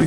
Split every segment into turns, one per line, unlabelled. U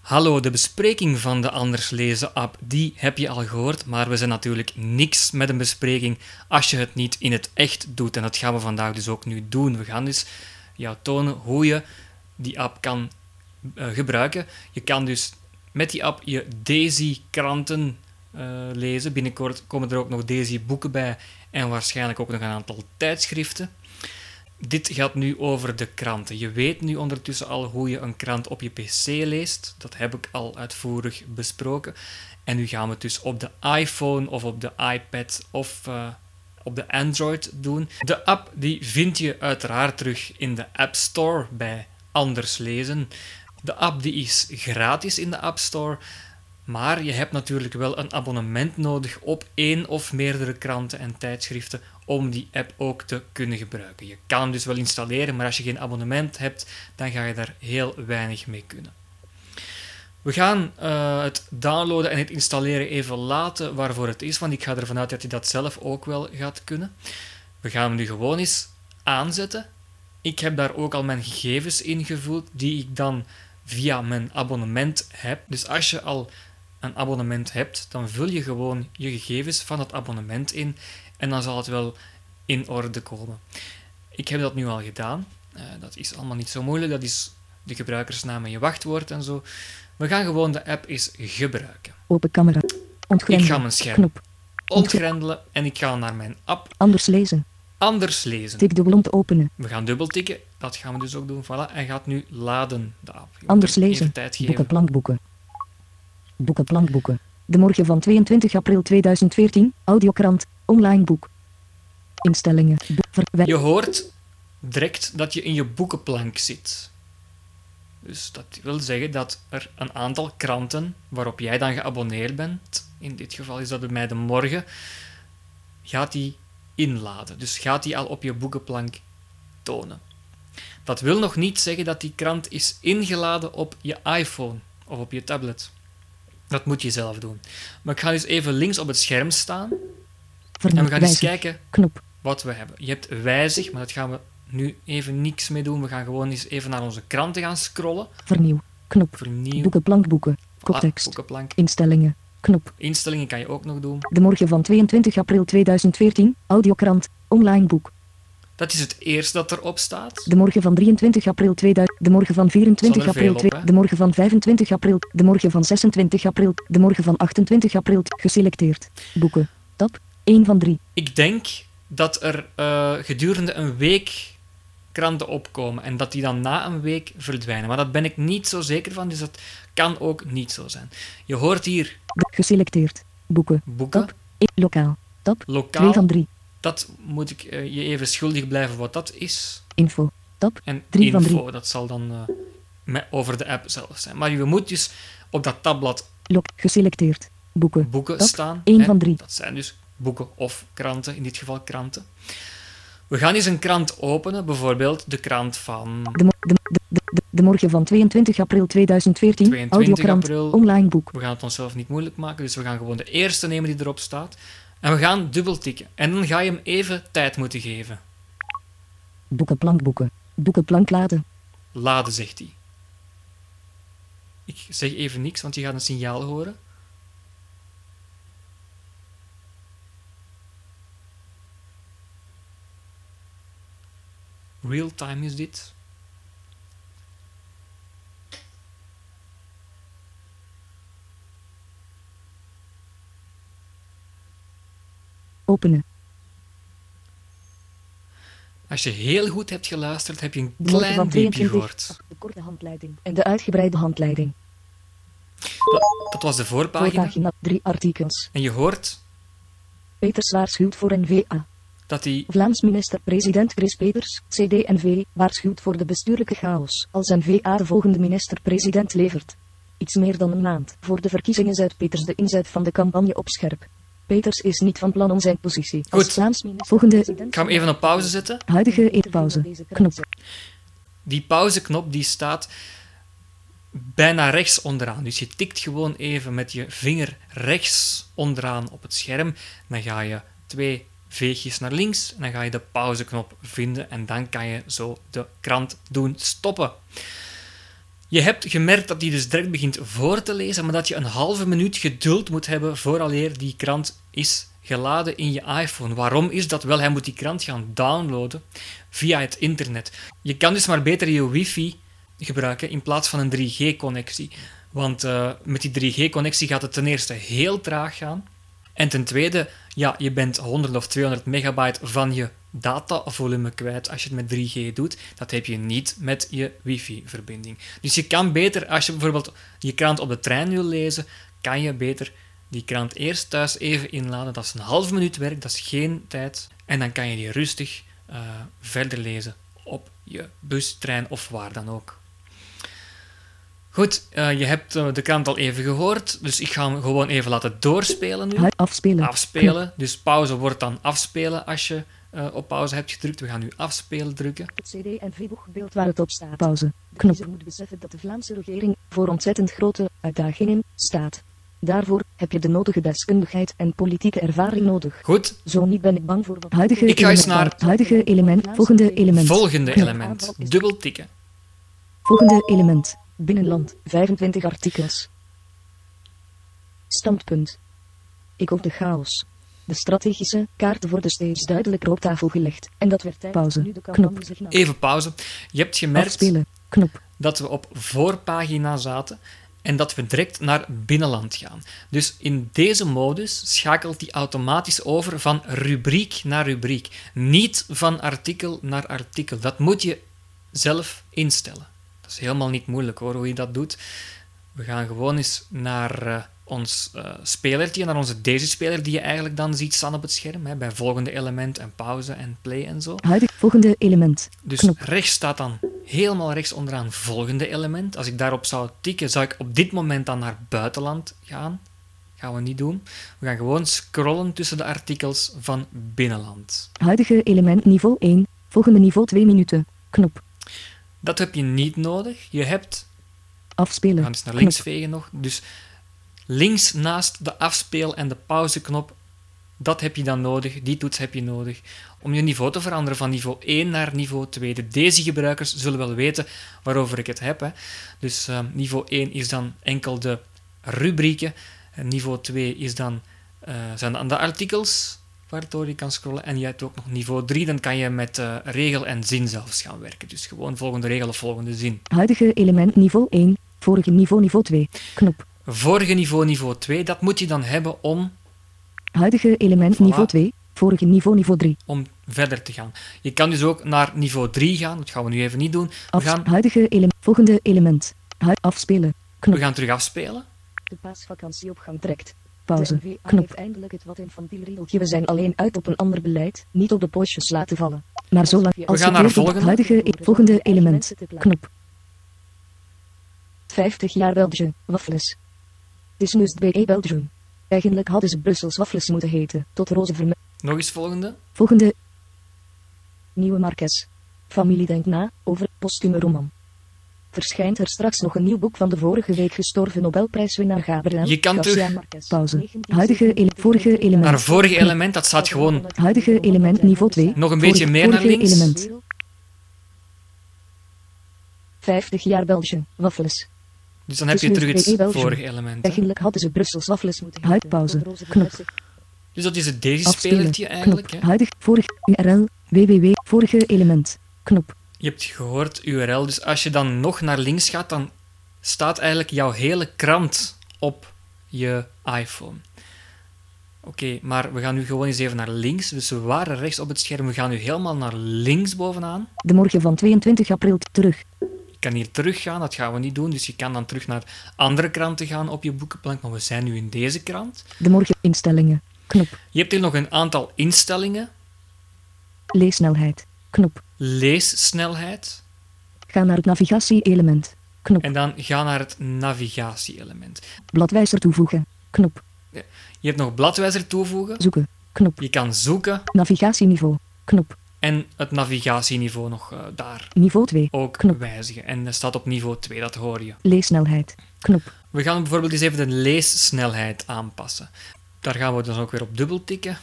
Hallo, de bespreking van de Anders Lezen app, die heb je al gehoord, maar we zijn natuurlijk niks met een bespreking als je het niet in het echt doet. En dat gaan we vandaag dus ook nu doen. We gaan dus jou tonen hoe je die app kan eh, gebruiken. Je kan dus met die app je Daisy-kranten eh, lezen. Binnenkort komen er ook nog Daisy-boeken bij en waarschijnlijk ook nog een aantal tijdschriften. Dit gaat nu over de kranten. Je weet nu ondertussen al hoe je een krant op je PC leest. Dat heb ik al uitvoerig besproken. En nu gaan we het dus op de iPhone of op de iPad of eh, op de Android doen. De app die vind je uiteraard terug in de App Store bij Anders Lezen. De app die is gratis in de App Store. Maar je hebt natuurlijk wel een abonnement nodig op één of meerdere kranten en tijdschriften om die app ook te kunnen gebruiken. Je kan hem dus wel installeren, maar als je geen abonnement hebt, dan ga je daar heel weinig mee kunnen. We gaan eh, het downloaden en het installeren even laten waarvoor het is, want ik ga ervan uit dat je dat zelf ook wel gaat kunnen. We gaan hem nu gewoon eens aanzetten. Ik heb daar ook al mijn gegevens ingevuld, die ik dan via mijn abonnement heb. Dus als je al een abonnement hebt, dan vul je gewoon je gegevens van het abonnement in en dan zal het wel in orde komen. Ik heb dat nu al gedaan. Eh, dat is allemaal niet zo moeilijk. Dat is de gebruikersnaam en je wachtwoord en zo. We gaan gewoon de app eens gebruiken.
Open camera.
Ik
Ontgrendelen.
ga mijn scherm
Knop.
ontgrendelen en ik ga naar mijn app
Anders lezen.
anders lezen.
Tik dubbel om te openen.
We gaan dubbeltikken. Dat gaan we dus ook doen. Voilà. Hij gaat nu laden, de app. Je moet
Anders
hem
lezen.
Even tijd
Boeken
geven.
plankboeken. Boeken plankboeken. De morgen van 22 april 2014. Audiokrant. Online boek. Instellingen. Boek.
Je
Verwijder.
hoort direct dat je in je boekenplank zit. Dus dat wil zeggen dat er een aantal kranten waarop jij dan geabonneerd bent, in dit geval is dat bij mij de morgen, gaat die inladen. Dus gaat die al op je boekenplank tonen. Dat wil nog niet zeggen dat die krant is ingeladen op je iPhone of op je tablet. Dat moet je zelf doen. Maar ik ga dus even links op het scherm staan en we gaan eens
Verwijzen.
kijken
Knop.
wat we hebben. Je hebt wijzig, maar dat gaan we nu even niks mee doen. We gaan gewoon eens even naar onze kranten gaan scrollen.
Vernieuw. Knop.
Vernieuw. Ah,
Boeken plankboeken. Koptekst.
boekenplank.
Instellingen. Knop.
Instellingen kan je ook nog doen.
De morgen van 22 april 2014. Audiokrant. Online boek.
Dat is het eerste dat erop staat.
De morgen van 23 april 2000, de morgen van 24
Zal er veel
april,
op,
2,
hè?
de morgen van 25 april, de morgen van 26 april, de morgen van 28 april, geselecteerd. Boeken. Tab 1 van 3.
Ik denk dat er eh, gedurende een week kranten opkomen en dat die dan na een week verdwijnen. Maar dat ben ik niet zo zeker van, dus dat kan ook niet zo zijn. Je hoort hier
Geselecteerd. Boeken.
boeken,
Tab 1. Lokaal. Tab 2
lokaal.
van 3.
Dat moet ik eh, je even schuldig blijven wat dat is.
Info. Tab
En
Drie van
info, dat zal dan eh, me- over de app zelf zijn. Maar je moet dus op dat tabblad
lok geselecteerd. Boeken.
boeken
Top,
staan.
één
hè.
van drie.
Dat zijn dus boeken of kranten, in dit geval kranten. We gaan eens een krant openen, bijvoorbeeld de krant van
De, mo- de, de, de, de- de morgen van 22 april 2014,
22
audiokrant,
april.
online boek.
We gaan het onszelf niet moeilijk maken, dus we gaan gewoon de eerste nemen die erop staat. En we gaan dubbel tikken. En dan ga je hem even tijd moeten geven.
Boeken plankboeken. Boeken plankladen.
Laden, zegt hij. Ik zeg even niks, want je gaat een signaal horen. Real time is dit.
Openen.
Als je heel goed hebt geluisterd, heb je een
De morgen
klein
van
diepje
22.
gehoord.
De korte handleiding en de uitgebreide handleiding.
Dat was de voorpagina.
Voorpagina, drie artikels.
En je hoort
Peters waarschuwt voor NVA.
dat hij
Vlaams minister-president Chris Peters, CD&V, waarschuwt voor de bestuurlijke chaos als N-VA de volgende minister-president levert. Iets meer dan een maand voor de verkiezingen zet Peters de inzet van de campagne op scherp. Peters is niet van plan om zijn positie
Goed.
als Vlaams minister-president...
Ik ga hem even op pauze zetten.
Huidige eetpauze. Knop.
Die pauzeknop die staat bijna rechts onderaan. Dus je tikt gewoon even met je vinger rechts onderaan op het scherm. Dan ga je twee veegjes naar links en dan ga je de pauzeknop vinden en dan kan je zo de krant doen stoppen. Je hebt gemerkt dat hij dus direct begint voor te lezen, maar dat je een halve minuut geduld moet hebben vooraleer die krant is geladen in je iPhone. Waarom is dat wel? Hij moet die krant gaan downloaden via het internet. Je kan dus maar beter je wifi gebruiken in plaats van een 3G-connectie. Want eh, met die 3G-connectie gaat het ten eerste heel traag gaan. En ten tweede, ja, je bent 100 of 200 megabyte van je datavolume kwijt als je het met 3G doet. Dat heb je niet met je wifi-verbinding. Dus je kan beter, als je bijvoorbeeld je krant op de trein wil lezen, kan je beter die krant eerst thuis even inladen. Dat is een half minuut werk, dat is geen tijd. En dan kan je die rustig eh, verder lezen op je bus, trein of waar dan ook. Goed, eh, je hebt eh, de krant al even gehoord, dus ik ga hem gewoon even laten doorspelen nu
Hui- Afspelen.
afspelen. Dus pauze wordt dan afspelen als je eh, op pauze hebt gedrukt. We gaan nu afspelen drukken.
Het CD en V-boek beeld waar het op staat. Pauze. Knop. Je moet beseffen dat de Vlaamse regering voor ontzettend grote uitdagingen staat. Daarvoor heb je de nodige deskundigheid en politieke ervaring nodig.
Goed,
Zo niet ben ik bang voor wat huidige
Ik ga eens
element-
naar-
huidige element. Volgende element.
volgende
Knop.
element. Dubbel tikken.
Volgende element. Binnenland. 25 artikels. Standpunt. Ik hoop de chaos. De strategische kaart wordt dus steeds duidelijker op tafel gelegd. En dat werd tijd.
Pauze.
Nu de campagne
Knop.
zich na-
Even pauze. Je hebt gemerkt
Afspelen. Knop.
dat we op voorpagina zaten en dat we direct naar binnenland gaan. Dus in deze modus schakelt die automatisch over van rubriek naar rubriek. Niet van artikel naar artikel. Dat moet je zelf instellen. Dat is helemaal niet moeilijk hoor, hoe je dat doet. We gaan gewoon eens naar eh, ons eh, spelertje, naar onze deze speler die je eigenlijk dan ziet staan op het scherm. Hè, bij volgende element en pauze en play en zo.
Huidig. Volgende element.
Dus
Knop.
rechts staat dan helemaal rechts onderaan volgende element. Als ik daarop zou tikken, zou ik op dit moment dan naar buitenland gaan. Gaan we niet doen. We gaan gewoon scrollen tussen de artikels van binnenland.
Huidige element niveau 1. Volgende niveau 2 minuten. Knop.
Dat heb je niet nodig. Je hebt We
Afspelen.
gaan eens naar links vegen nog. Dus links naast de afspeel- en de pauzeknop, dat heb je dan nodig, die toets heb je nodig. Om je niveau te veranderen van niveau 1 naar niveau 2. De Deze gebruikers zullen wel weten waarover ik het heb. Hè. Dus eh, niveau 1 is dan enkel de rubrieken. En niveau 2 is dan, eh, zijn dan de artikels waardoor je kan scrollen. En je hebt ook nog niveau 3, dan kan je met eh, regel en zin zelfs gaan werken. Dus gewoon volgende regel of volgende zin.
Knop. Huidige element niveau 1. Vorige niveau niveau 2. Knop.
Vorige niveau, niveau 2, dat moet je dan hebben om,
Huidige element
Voilà.
niveau 2. Vorige niveau niveau 3.
om verder te gaan. Je kan dus ook naar niveau 3 gaan, dat gaan we nu even niet doen. We
Af,
gaan,
Huidige element. Volgende element. Hui- afspelen. Knop.
we gaan terug afspelen.
De paasvakantie op gang trekt.
Pauze.
De NVA
Knop.
heeft eindelijk het wat in van die rieltje. We zijn alleen uit op een ander beleid, niet op de postjes laten vallen.
Maar zolang
We
als
gaan
je
naar
deelt op
volgende.
huidige e- volgende element.
Mensen te plagen.
Knop.
50 jaar België, waffles. Dus moest BE Belgium. Eigenlijk hadden ze Brussels waffles moeten heten, tot roze verme...
Nog eens volgende.
Volgende
Nieuwe Marques. Familie denkt na, over postume roman. Verschijnt er straks nog een nieuw boek van de vorige week gestorven Nobelprijswinnaar Gabriel
Je kan
Garcia
terug-
Marquez.
pauze. Huidige ele- vorige element.
Naar vorige element, dat staat gewoon
Huidige element niveau 2.
nog een beetje
Vorige-
meer naar
vorige
links.
element.
50 jaar België, waffles.
Dus dan heb je terug het vorige element. hè.
Eigenlijk hadden ze Brussels waffles moeten
Huid-
heten.
pauze.
Tot roze
Knop.
verse-
Dus dat is het deze
afspelen.
spelertje eigenlijk.
Knop.
Hè.
Huidig vorig URL www vorige element. Knop.
Je hebt gehoord URL, dus als je dan nog naar links gaat, dan staat eigenlijk jouw hele krant op je iPhone. Oké, maar we gaan nu gewoon eens even naar links. Dus we waren rechts op het scherm. We gaan nu helemaal naar links bovenaan.
De morgen van 22 april terug.
Ik kan hier teruggaan, dat gaan we niet doen. Dus je kan dan terug naar andere kranten gaan op je boekenplank. Maar we zijn nu in deze krant.
De morgen instellingen. Knop.
Je hebt hier nog een aantal instellingen.
Leessnelheid. Knop.
Leessnelheid.
Ga naar het navigatie-element. Knop.
En dan ga naar het navigatie-element.
Bladwijzer toevoegen. Knop.
Je hebt nog bladwijzer toevoegen.
Zoeken. Knop.
Je kan zoeken.
Navigatieniveau. Knop.
En het navigatieniveau nog eh, daar
Niveau 2.
ook
Knop.
wijzigen. En dat staat op niveau 2, dat hoor je.
Leessnelheid. Knop.
We gaan bijvoorbeeld eens even de leessnelheid aanpassen. Daar gaan we dus ook weer op dubbel tikken.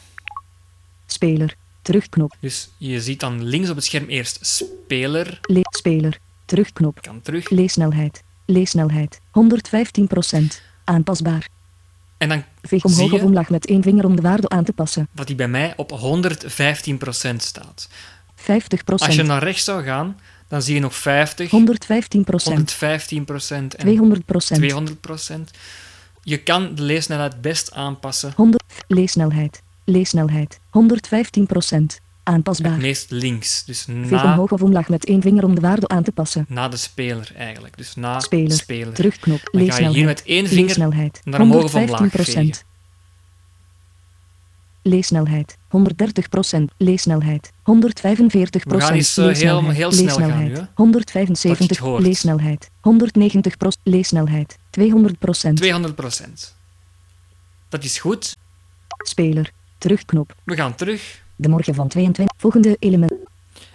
Speler. Terugknop.
Dus je ziet dan links op het scherm eerst speler.
Le speler. Terugknop.
Kan terug.
Leesnelheid. Leesnelheid. 115%. Aanpasbaar.
En dan
Veeg
Zie
omhoog
je?
of omlaag met één vinger om de waarde aan te passen.
dat die bij mij op 115% staat.
50%.
Als je naar rechts zou gaan, dan zie je nog 50,
115%.
115% en
200%.
200%. Je kan de leesnelheid het best aanpassen.
100. Leesnelheid. Leesnelheid. 115%.
Het
Aanpasbaar.
meest links. Dus
Veeg
na,
omhoog of omlaag met één vinger om de waarde aan te passen.
na de speler eigenlijk. Dus na
Speler.
speler.
Terugknop.
Dan ga je hier
Leesnelheid.
met één vinger
Leesnelheid.
naar omhoog of omlaag
115%.
vegen.
Leesnelheid. 130%. Leesnelheid. 145%.
We gaan eens, eh, heel- heel snel gaan
leesnelheid.
nu, hè. Dat je het
175.
hoort.
Leesnelheid. 190%. Leesnelheid. 200%.
200%. Dat is goed.
Speler. Terugknop.
We gaan terug
De morgen van 22. Volgende element.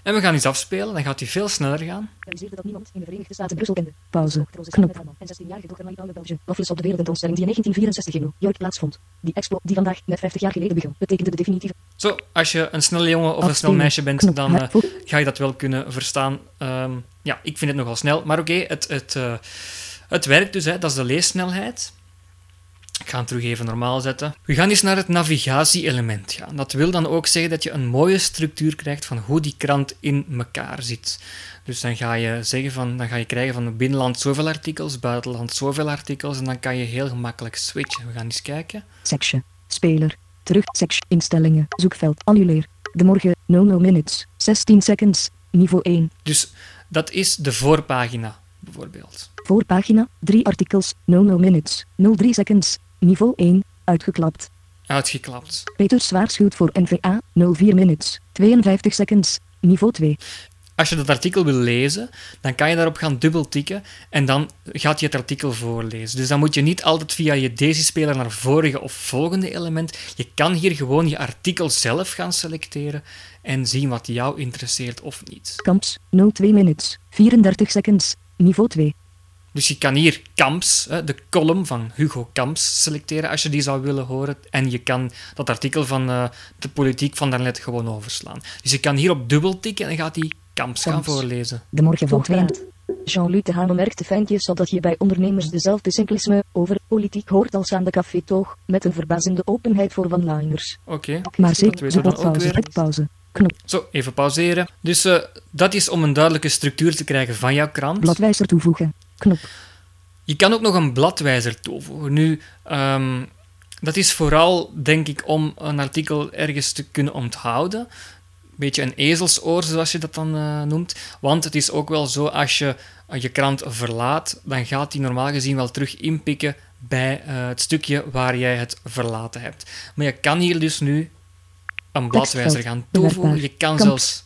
en we gaan iets afspelen. Dan gaat hij veel sneller gaan.
realiseerde dat niemand in de Verenigde Staten Brussel kende.
Pauze.
Dochter Roze
Knop.
Knop. En 16-jarige dochter Marie-Paule Belge. Of is op de wereldtentoonstelling die in 1964 in New York plaatsvond. Die expo, die vandaag net 50 jaar geleden begon, betekende de definitieve
Zo, als je een snelle jongen of een snel
Afspelen.
meisje bent,
Knop.
dan
Haar
eh,
vo-
ga je dat wel kunnen verstaan. Ehm, ja, ik vind het nogal snel. Maar oké, het, het, eh, het werkt dus. Hè. Dat is de leessnelheid. Ik ga hem terug even normaal zetten. We gaan eens naar het navigatie-element gaan. Dat wil dan ook zeggen dat je een mooie structuur krijgt van hoe die krant in elkaar zit. Dus dan ga je zeggen van, dan ga je krijgen van binnenland zoveel artikels, buitenland zoveel artikels, en dan kan je heel gemakkelijk switchen. We gaan eens kijken.
Section. Speler. Terug. Section. Instellingen. Zoekveld. Annuleer. De morgen. 00 minutes. 16 seconds. Niveau 1.
Dus dat is de voorpagina, bijvoorbeeld.
Voorpagina. 3 artikels. 00 minutes. 03 seconds. Niveau 1. Uitgeklapt.
Uitgeklapt.
Peters waarschuwt voor NVA. 04 minutes. 52 seconds. Niveau 2.
Als je dat artikel wil lezen, dan kan je daarop gaan dubbeltikken en dan gaat je het artikel voorlezen. Dus dan moet je niet altijd via je Daisy-speler naar vorige of volgende element. Je kan hier gewoon je artikel zelf gaan selecteren en zien wat jou interesseert of niet.
Kamps. 02 minutes. 34 seconds. Niveau 2.
Dus je kan hier Kamps, hè, de column van Hugo Kamps, selecteren als je die zou willen horen. En je kan dat artikel van eh, de politiek van daarnet gewoon overslaan. Dus je kan hierop dubbeltikken en gaat die Kamps gaan
Kamps.
voorlezen.
De morgen van
Tot
20.
raad. Jean-Luc de Haan merkte fijntjes op dat je bij ondernemers dezelfde simplisme over politiek hoort als aan de café-toog, met een verbazende openheid voor one-liners.
Oké.
Maar
Dat
zeker.
weten
De
we dan ook
pauze.
weer.
Het pauze. Knop.
Zo, even pauzeren. Dus eh, dat is om een duidelijke structuur te krijgen van jouw krant.
Bladwijzer toevoegen. Knop.
Je kan ook nog een bladwijzer toevoegen. Nu, ehm, dat is vooral, denk ik, om een artikel ergens te kunnen onthouden. Een beetje een ezelsoor, zoals je dat dan eh, noemt. Want het is ook wel zo, als je eh, je krant verlaat, dan gaat die normaal gezien wel terug inpikken bij eh, het stukje waar jij het verlaten hebt. Maar je kan hier dus nu een bladwijzer gaan toevoegen.
bewerkbaar.
Je kan
Kamps.
zelfs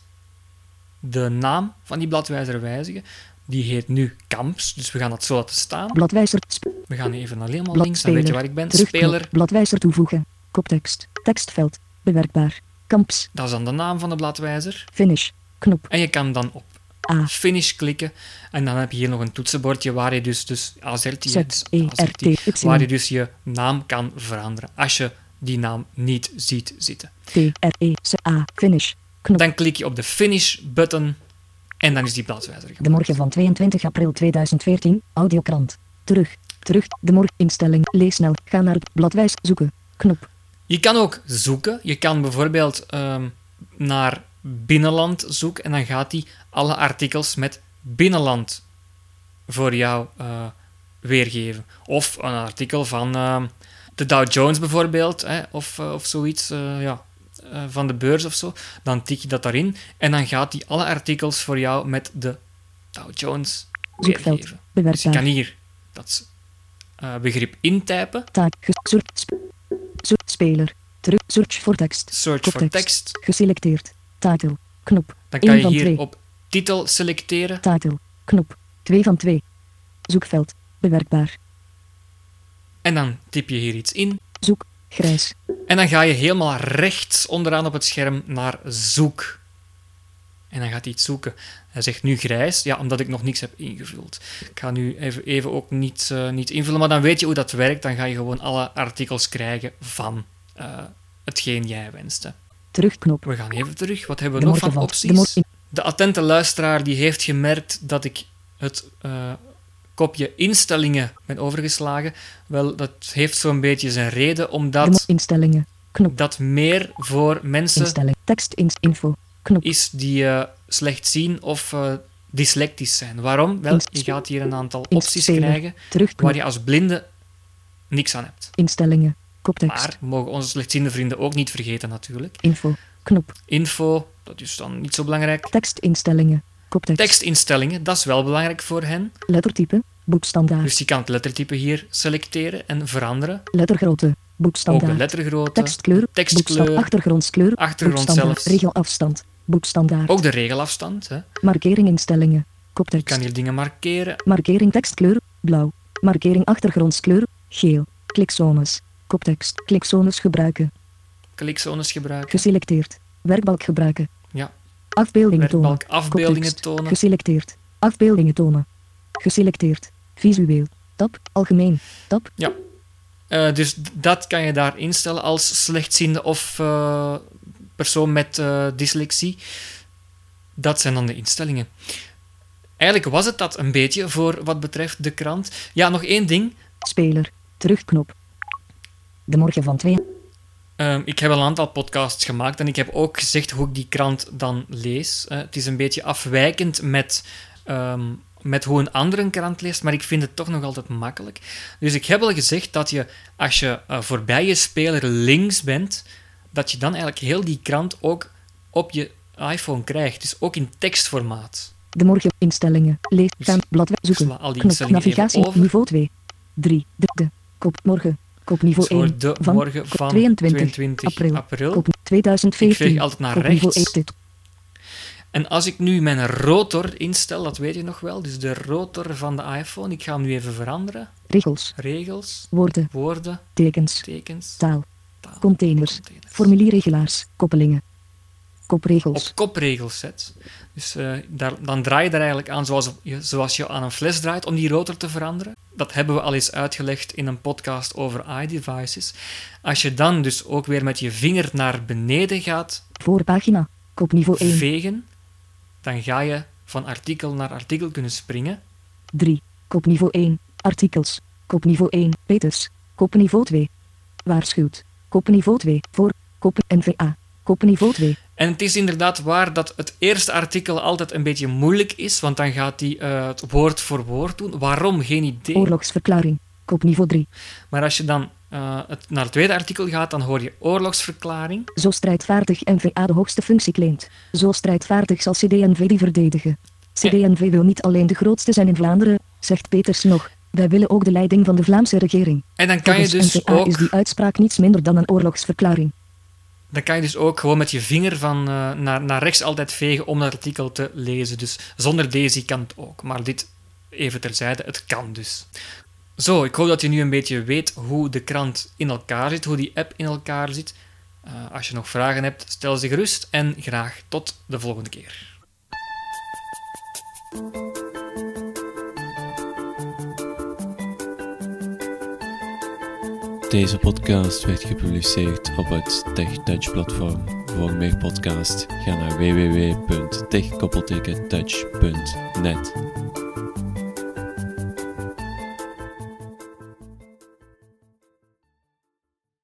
de naam van die bladwijzer wijzigen. Die heet nu Kamps, dus we gaan dat zo laten staan.
Bladwijzer. sp-
We gaan even naar helemaal links, dan
Bladspeler.
weet je waar ik ben.
Terugknop.
Speler,
Bladwijzer toevoegen. Koptekst. Tekstveld. Bewerkbaar. Kamps.
dat is dan de naam van de bladwijzer.
Finish. Knop.
En je kan dan op
A.
finish klikken. En dan heb je hier nog een toetsenbordje waar je dus, dus AZRT,
Z.
hè, dus
E. R.
AZRT,
T. Y.
waar je dus je naam kan veranderen als je die naam niet ziet zitten.
T. R. E. C. A. Finish. Knop.
Dan klik je op de finish button en dan is die bladwijzer
De
gemaakt.
morgen van 22 april 2014, audiokrant. Terug, terug, de morgen, instelling, leesnel, ga naar het bladwijs, zoeken, knop,
Je kan ook zoeken. Je kan bijvoorbeeld ehm, naar binnenland zoeken en dan gaat hij alle artikels met binnenland voor jou eh, weergeven. Of een artikel van ehm, de Dow Jones bijvoorbeeld, hè, of, eh, of zoiets, eh, ja, eh, van de beurs of zo, dan tik je dat daarin en dan gaat hij alle artikels voor jou met de Dow Jones
Zoekveld.
weergeven. Dus je
Bewerkbaar.
kan hier dat eh, begrip intypen,
Taak. Gezocht. Sp zo- speler. Terug. Search voor tekst.
search for
Koptekst.
text,
Geselecteerd. Titel. Knop.
dan
Eén
kan je
van
hier
twee.
op titel selecteren.
Titel. Knop. 2 van 2. Zoekveld. Bewerkbaar.
En dan typ je hier iets in.
Zoek. Grijs.
En dan ga je helemaal rechts onderaan op het scherm naar zoek. En dan gaat hij iets zoeken. Hij zegt nu grijs, ja, omdat ik nog niks heb ingevuld. Ik ga nu even, even ook niet, eh, niet invullen, maar dan weet je hoe dat werkt. Dan ga je gewoon alle artikels krijgen van eh, hetgeen jij wenste.
Terugknop.
We gaan even terug. Wat hebben we
De
nog
morgen
van
valt. De
opties?
morgen.
De attente luisteraar die heeft gemerkt dat ik het eh, kopje instellingen ben overgeslagen. Wel, dat heeft zo'n beetje zijn reden,
De mo-
omdat
instellingen. Knop.
dat meer voor mensen
Instelling. Tekst. In info. Knop.
is die eh, slecht zien of eh, dyslectisch zijn. Waarom? Wel,
Inst-
je gaat hier een aantal
Inst-
opties
speler.
krijgen
Terugknop.
waar je als blinde niks aan hebt.
Instellingen. Koptekst.
Maar we mogen onze slechtziende vrienden ook niet vergeten natuurlijk.
Info. Knop.
Info, dat is dan niet zo belangrijk.
Tekstinstellingen. Koptekst.
Tekstinstellingen, dat is wel belangrijk voor hen.
Lettertype. Boekstandaard.
Dus je kan het lettertype hier selecteren en veranderen.
Lettergrootte.
Ook de
Boekstandaard.
lettergrootte,
Tekstkleur. boeksta-
tekstkleur,
Achtergrondskleur.
Achtergrond
boekstandaard,
zelfs.
Regelafstand. Boekstandaard.
ook de regelafstand. Hè.
Markeringinstellingen.
Je kan
Koptekst.
hier dingen markeren.
Markering tekstkleur. Blauw. Markering achtergrondskleur. Geel. Klikzones. Koptekst. Klikzones gebruiken.
Klikzones gebruiken.
Geselecteerd. Werkbalk gebruiken.
Ja.
Afbeeldingen tonen.
Werkbalk afbeeldingen
Koptekst.
tonen.
Geselecteerd. Afbeeldingen tonen. Geselecteerd. Visueel. Tab. Algemeen. Tab.
Ja. Eh, dus d- dat kan je daar instellen als slechtziende of eh, persoon met eh, dyslexie. Dat zijn dan de instellingen. Eigenlijk was het dat een beetje voor wat betreft de krant. Ja, nog één ding.
Speler. Terugknop. De morgen van 2.
Ehm, ik heb al een aantal podcasts gemaakt en ik heb ook gezegd hoe ik die krant dan lees. Eh, het is een beetje afwijkend met, ehm, met hoe een ander een krant leest, maar ik vind het toch nog altijd makkelijk. Dus ik heb al gezegd dat je, als je eh, voorbij je speler links bent, dat je dan eigenlijk heel die krant ook op je iPhone krijgt. Dus ook in tekstformaat.
De morgen instellingen. Lees gaan blad zoeken.
Dus sla al die
Knop
instellingen even
navigatie
over.
niveau 2. 3. De, de kop morgen. Kop niveau
Zo
1
de
van,
morgen
kop
van
22,
22
april.
april.
Kop 2014.
Ik veeg altijd naar
kop niveau
rechts.
1 dit.
En als ik nu mijn rotor instel, dat weet je nog wel, dus de rotor van de iPhone, ik ga hem nu even veranderen.
Regels.
Regels,
Woorden.
woorden,
Tekens.
tekens,
Taal.
taal,
Containers.
containers.
Formulierregelaars. Koppelingen. Kopregels.
Op kopregels zet. Dus eh, daar, dan draai je er eigenlijk aan zoals je, zoals je aan een fles draait om die rotor te veranderen. Dat hebben we al eens uitgelegd in een podcast over iDevices. Als je dan dus ook weer met je vinger naar beneden gaat
Voorpagina. Kop niveau 1.
vegen, dan ga je van artikel naar artikel kunnen springen.
3. Kop niveau 1. Artikels. Kop niveau 1. Peters. Kop niveau 2. Waarschuwt. Kop niveau 2. Voor. Kop NVA. Kop niveau 2.
En het is inderdaad waar dat het eerste artikel altijd een beetje moeilijk is, want dan gaat hij eh, het woord voor woord doen. Waarom? Geen idee.
Oorlogsverklaring. Kop niveau 3.
Maar als je dan eh, het, naar het tweede artikel gaat, dan hoor je oorlogsverklaring.
Zo strijdvaardig NVA de hoogste functie claimt. Zo strijdvaardig zal CD&V die verdedigen. CD&V wil niet alleen de grootste zijn in Vlaanderen, zegt Peters nog. Wij willen ook de leiding van de Vlaamse regering.
En dan kan, je
Volgens
dus
NVA is die
ook,
uitspraak niets minder dan een oorlogsverklaring.
dan kan je dus ook gewoon met je vinger van, eh, naar, naar rechts altijd vegen om dat artikel te lezen. Dus zonder deze kan het ook. Maar dit even terzijde, het kan dus. Zo, ik hoop dat je nu een beetje weet hoe de krant in elkaar zit, hoe die app in elkaar zit. Eh, als je nog vragen hebt, stel ze gerust en graag tot de volgende keer.
Deze podcast werd gepubliceerd op het TechTouch platform. Voor meer podcasts ga naar www.techkoppeltekentouch.net.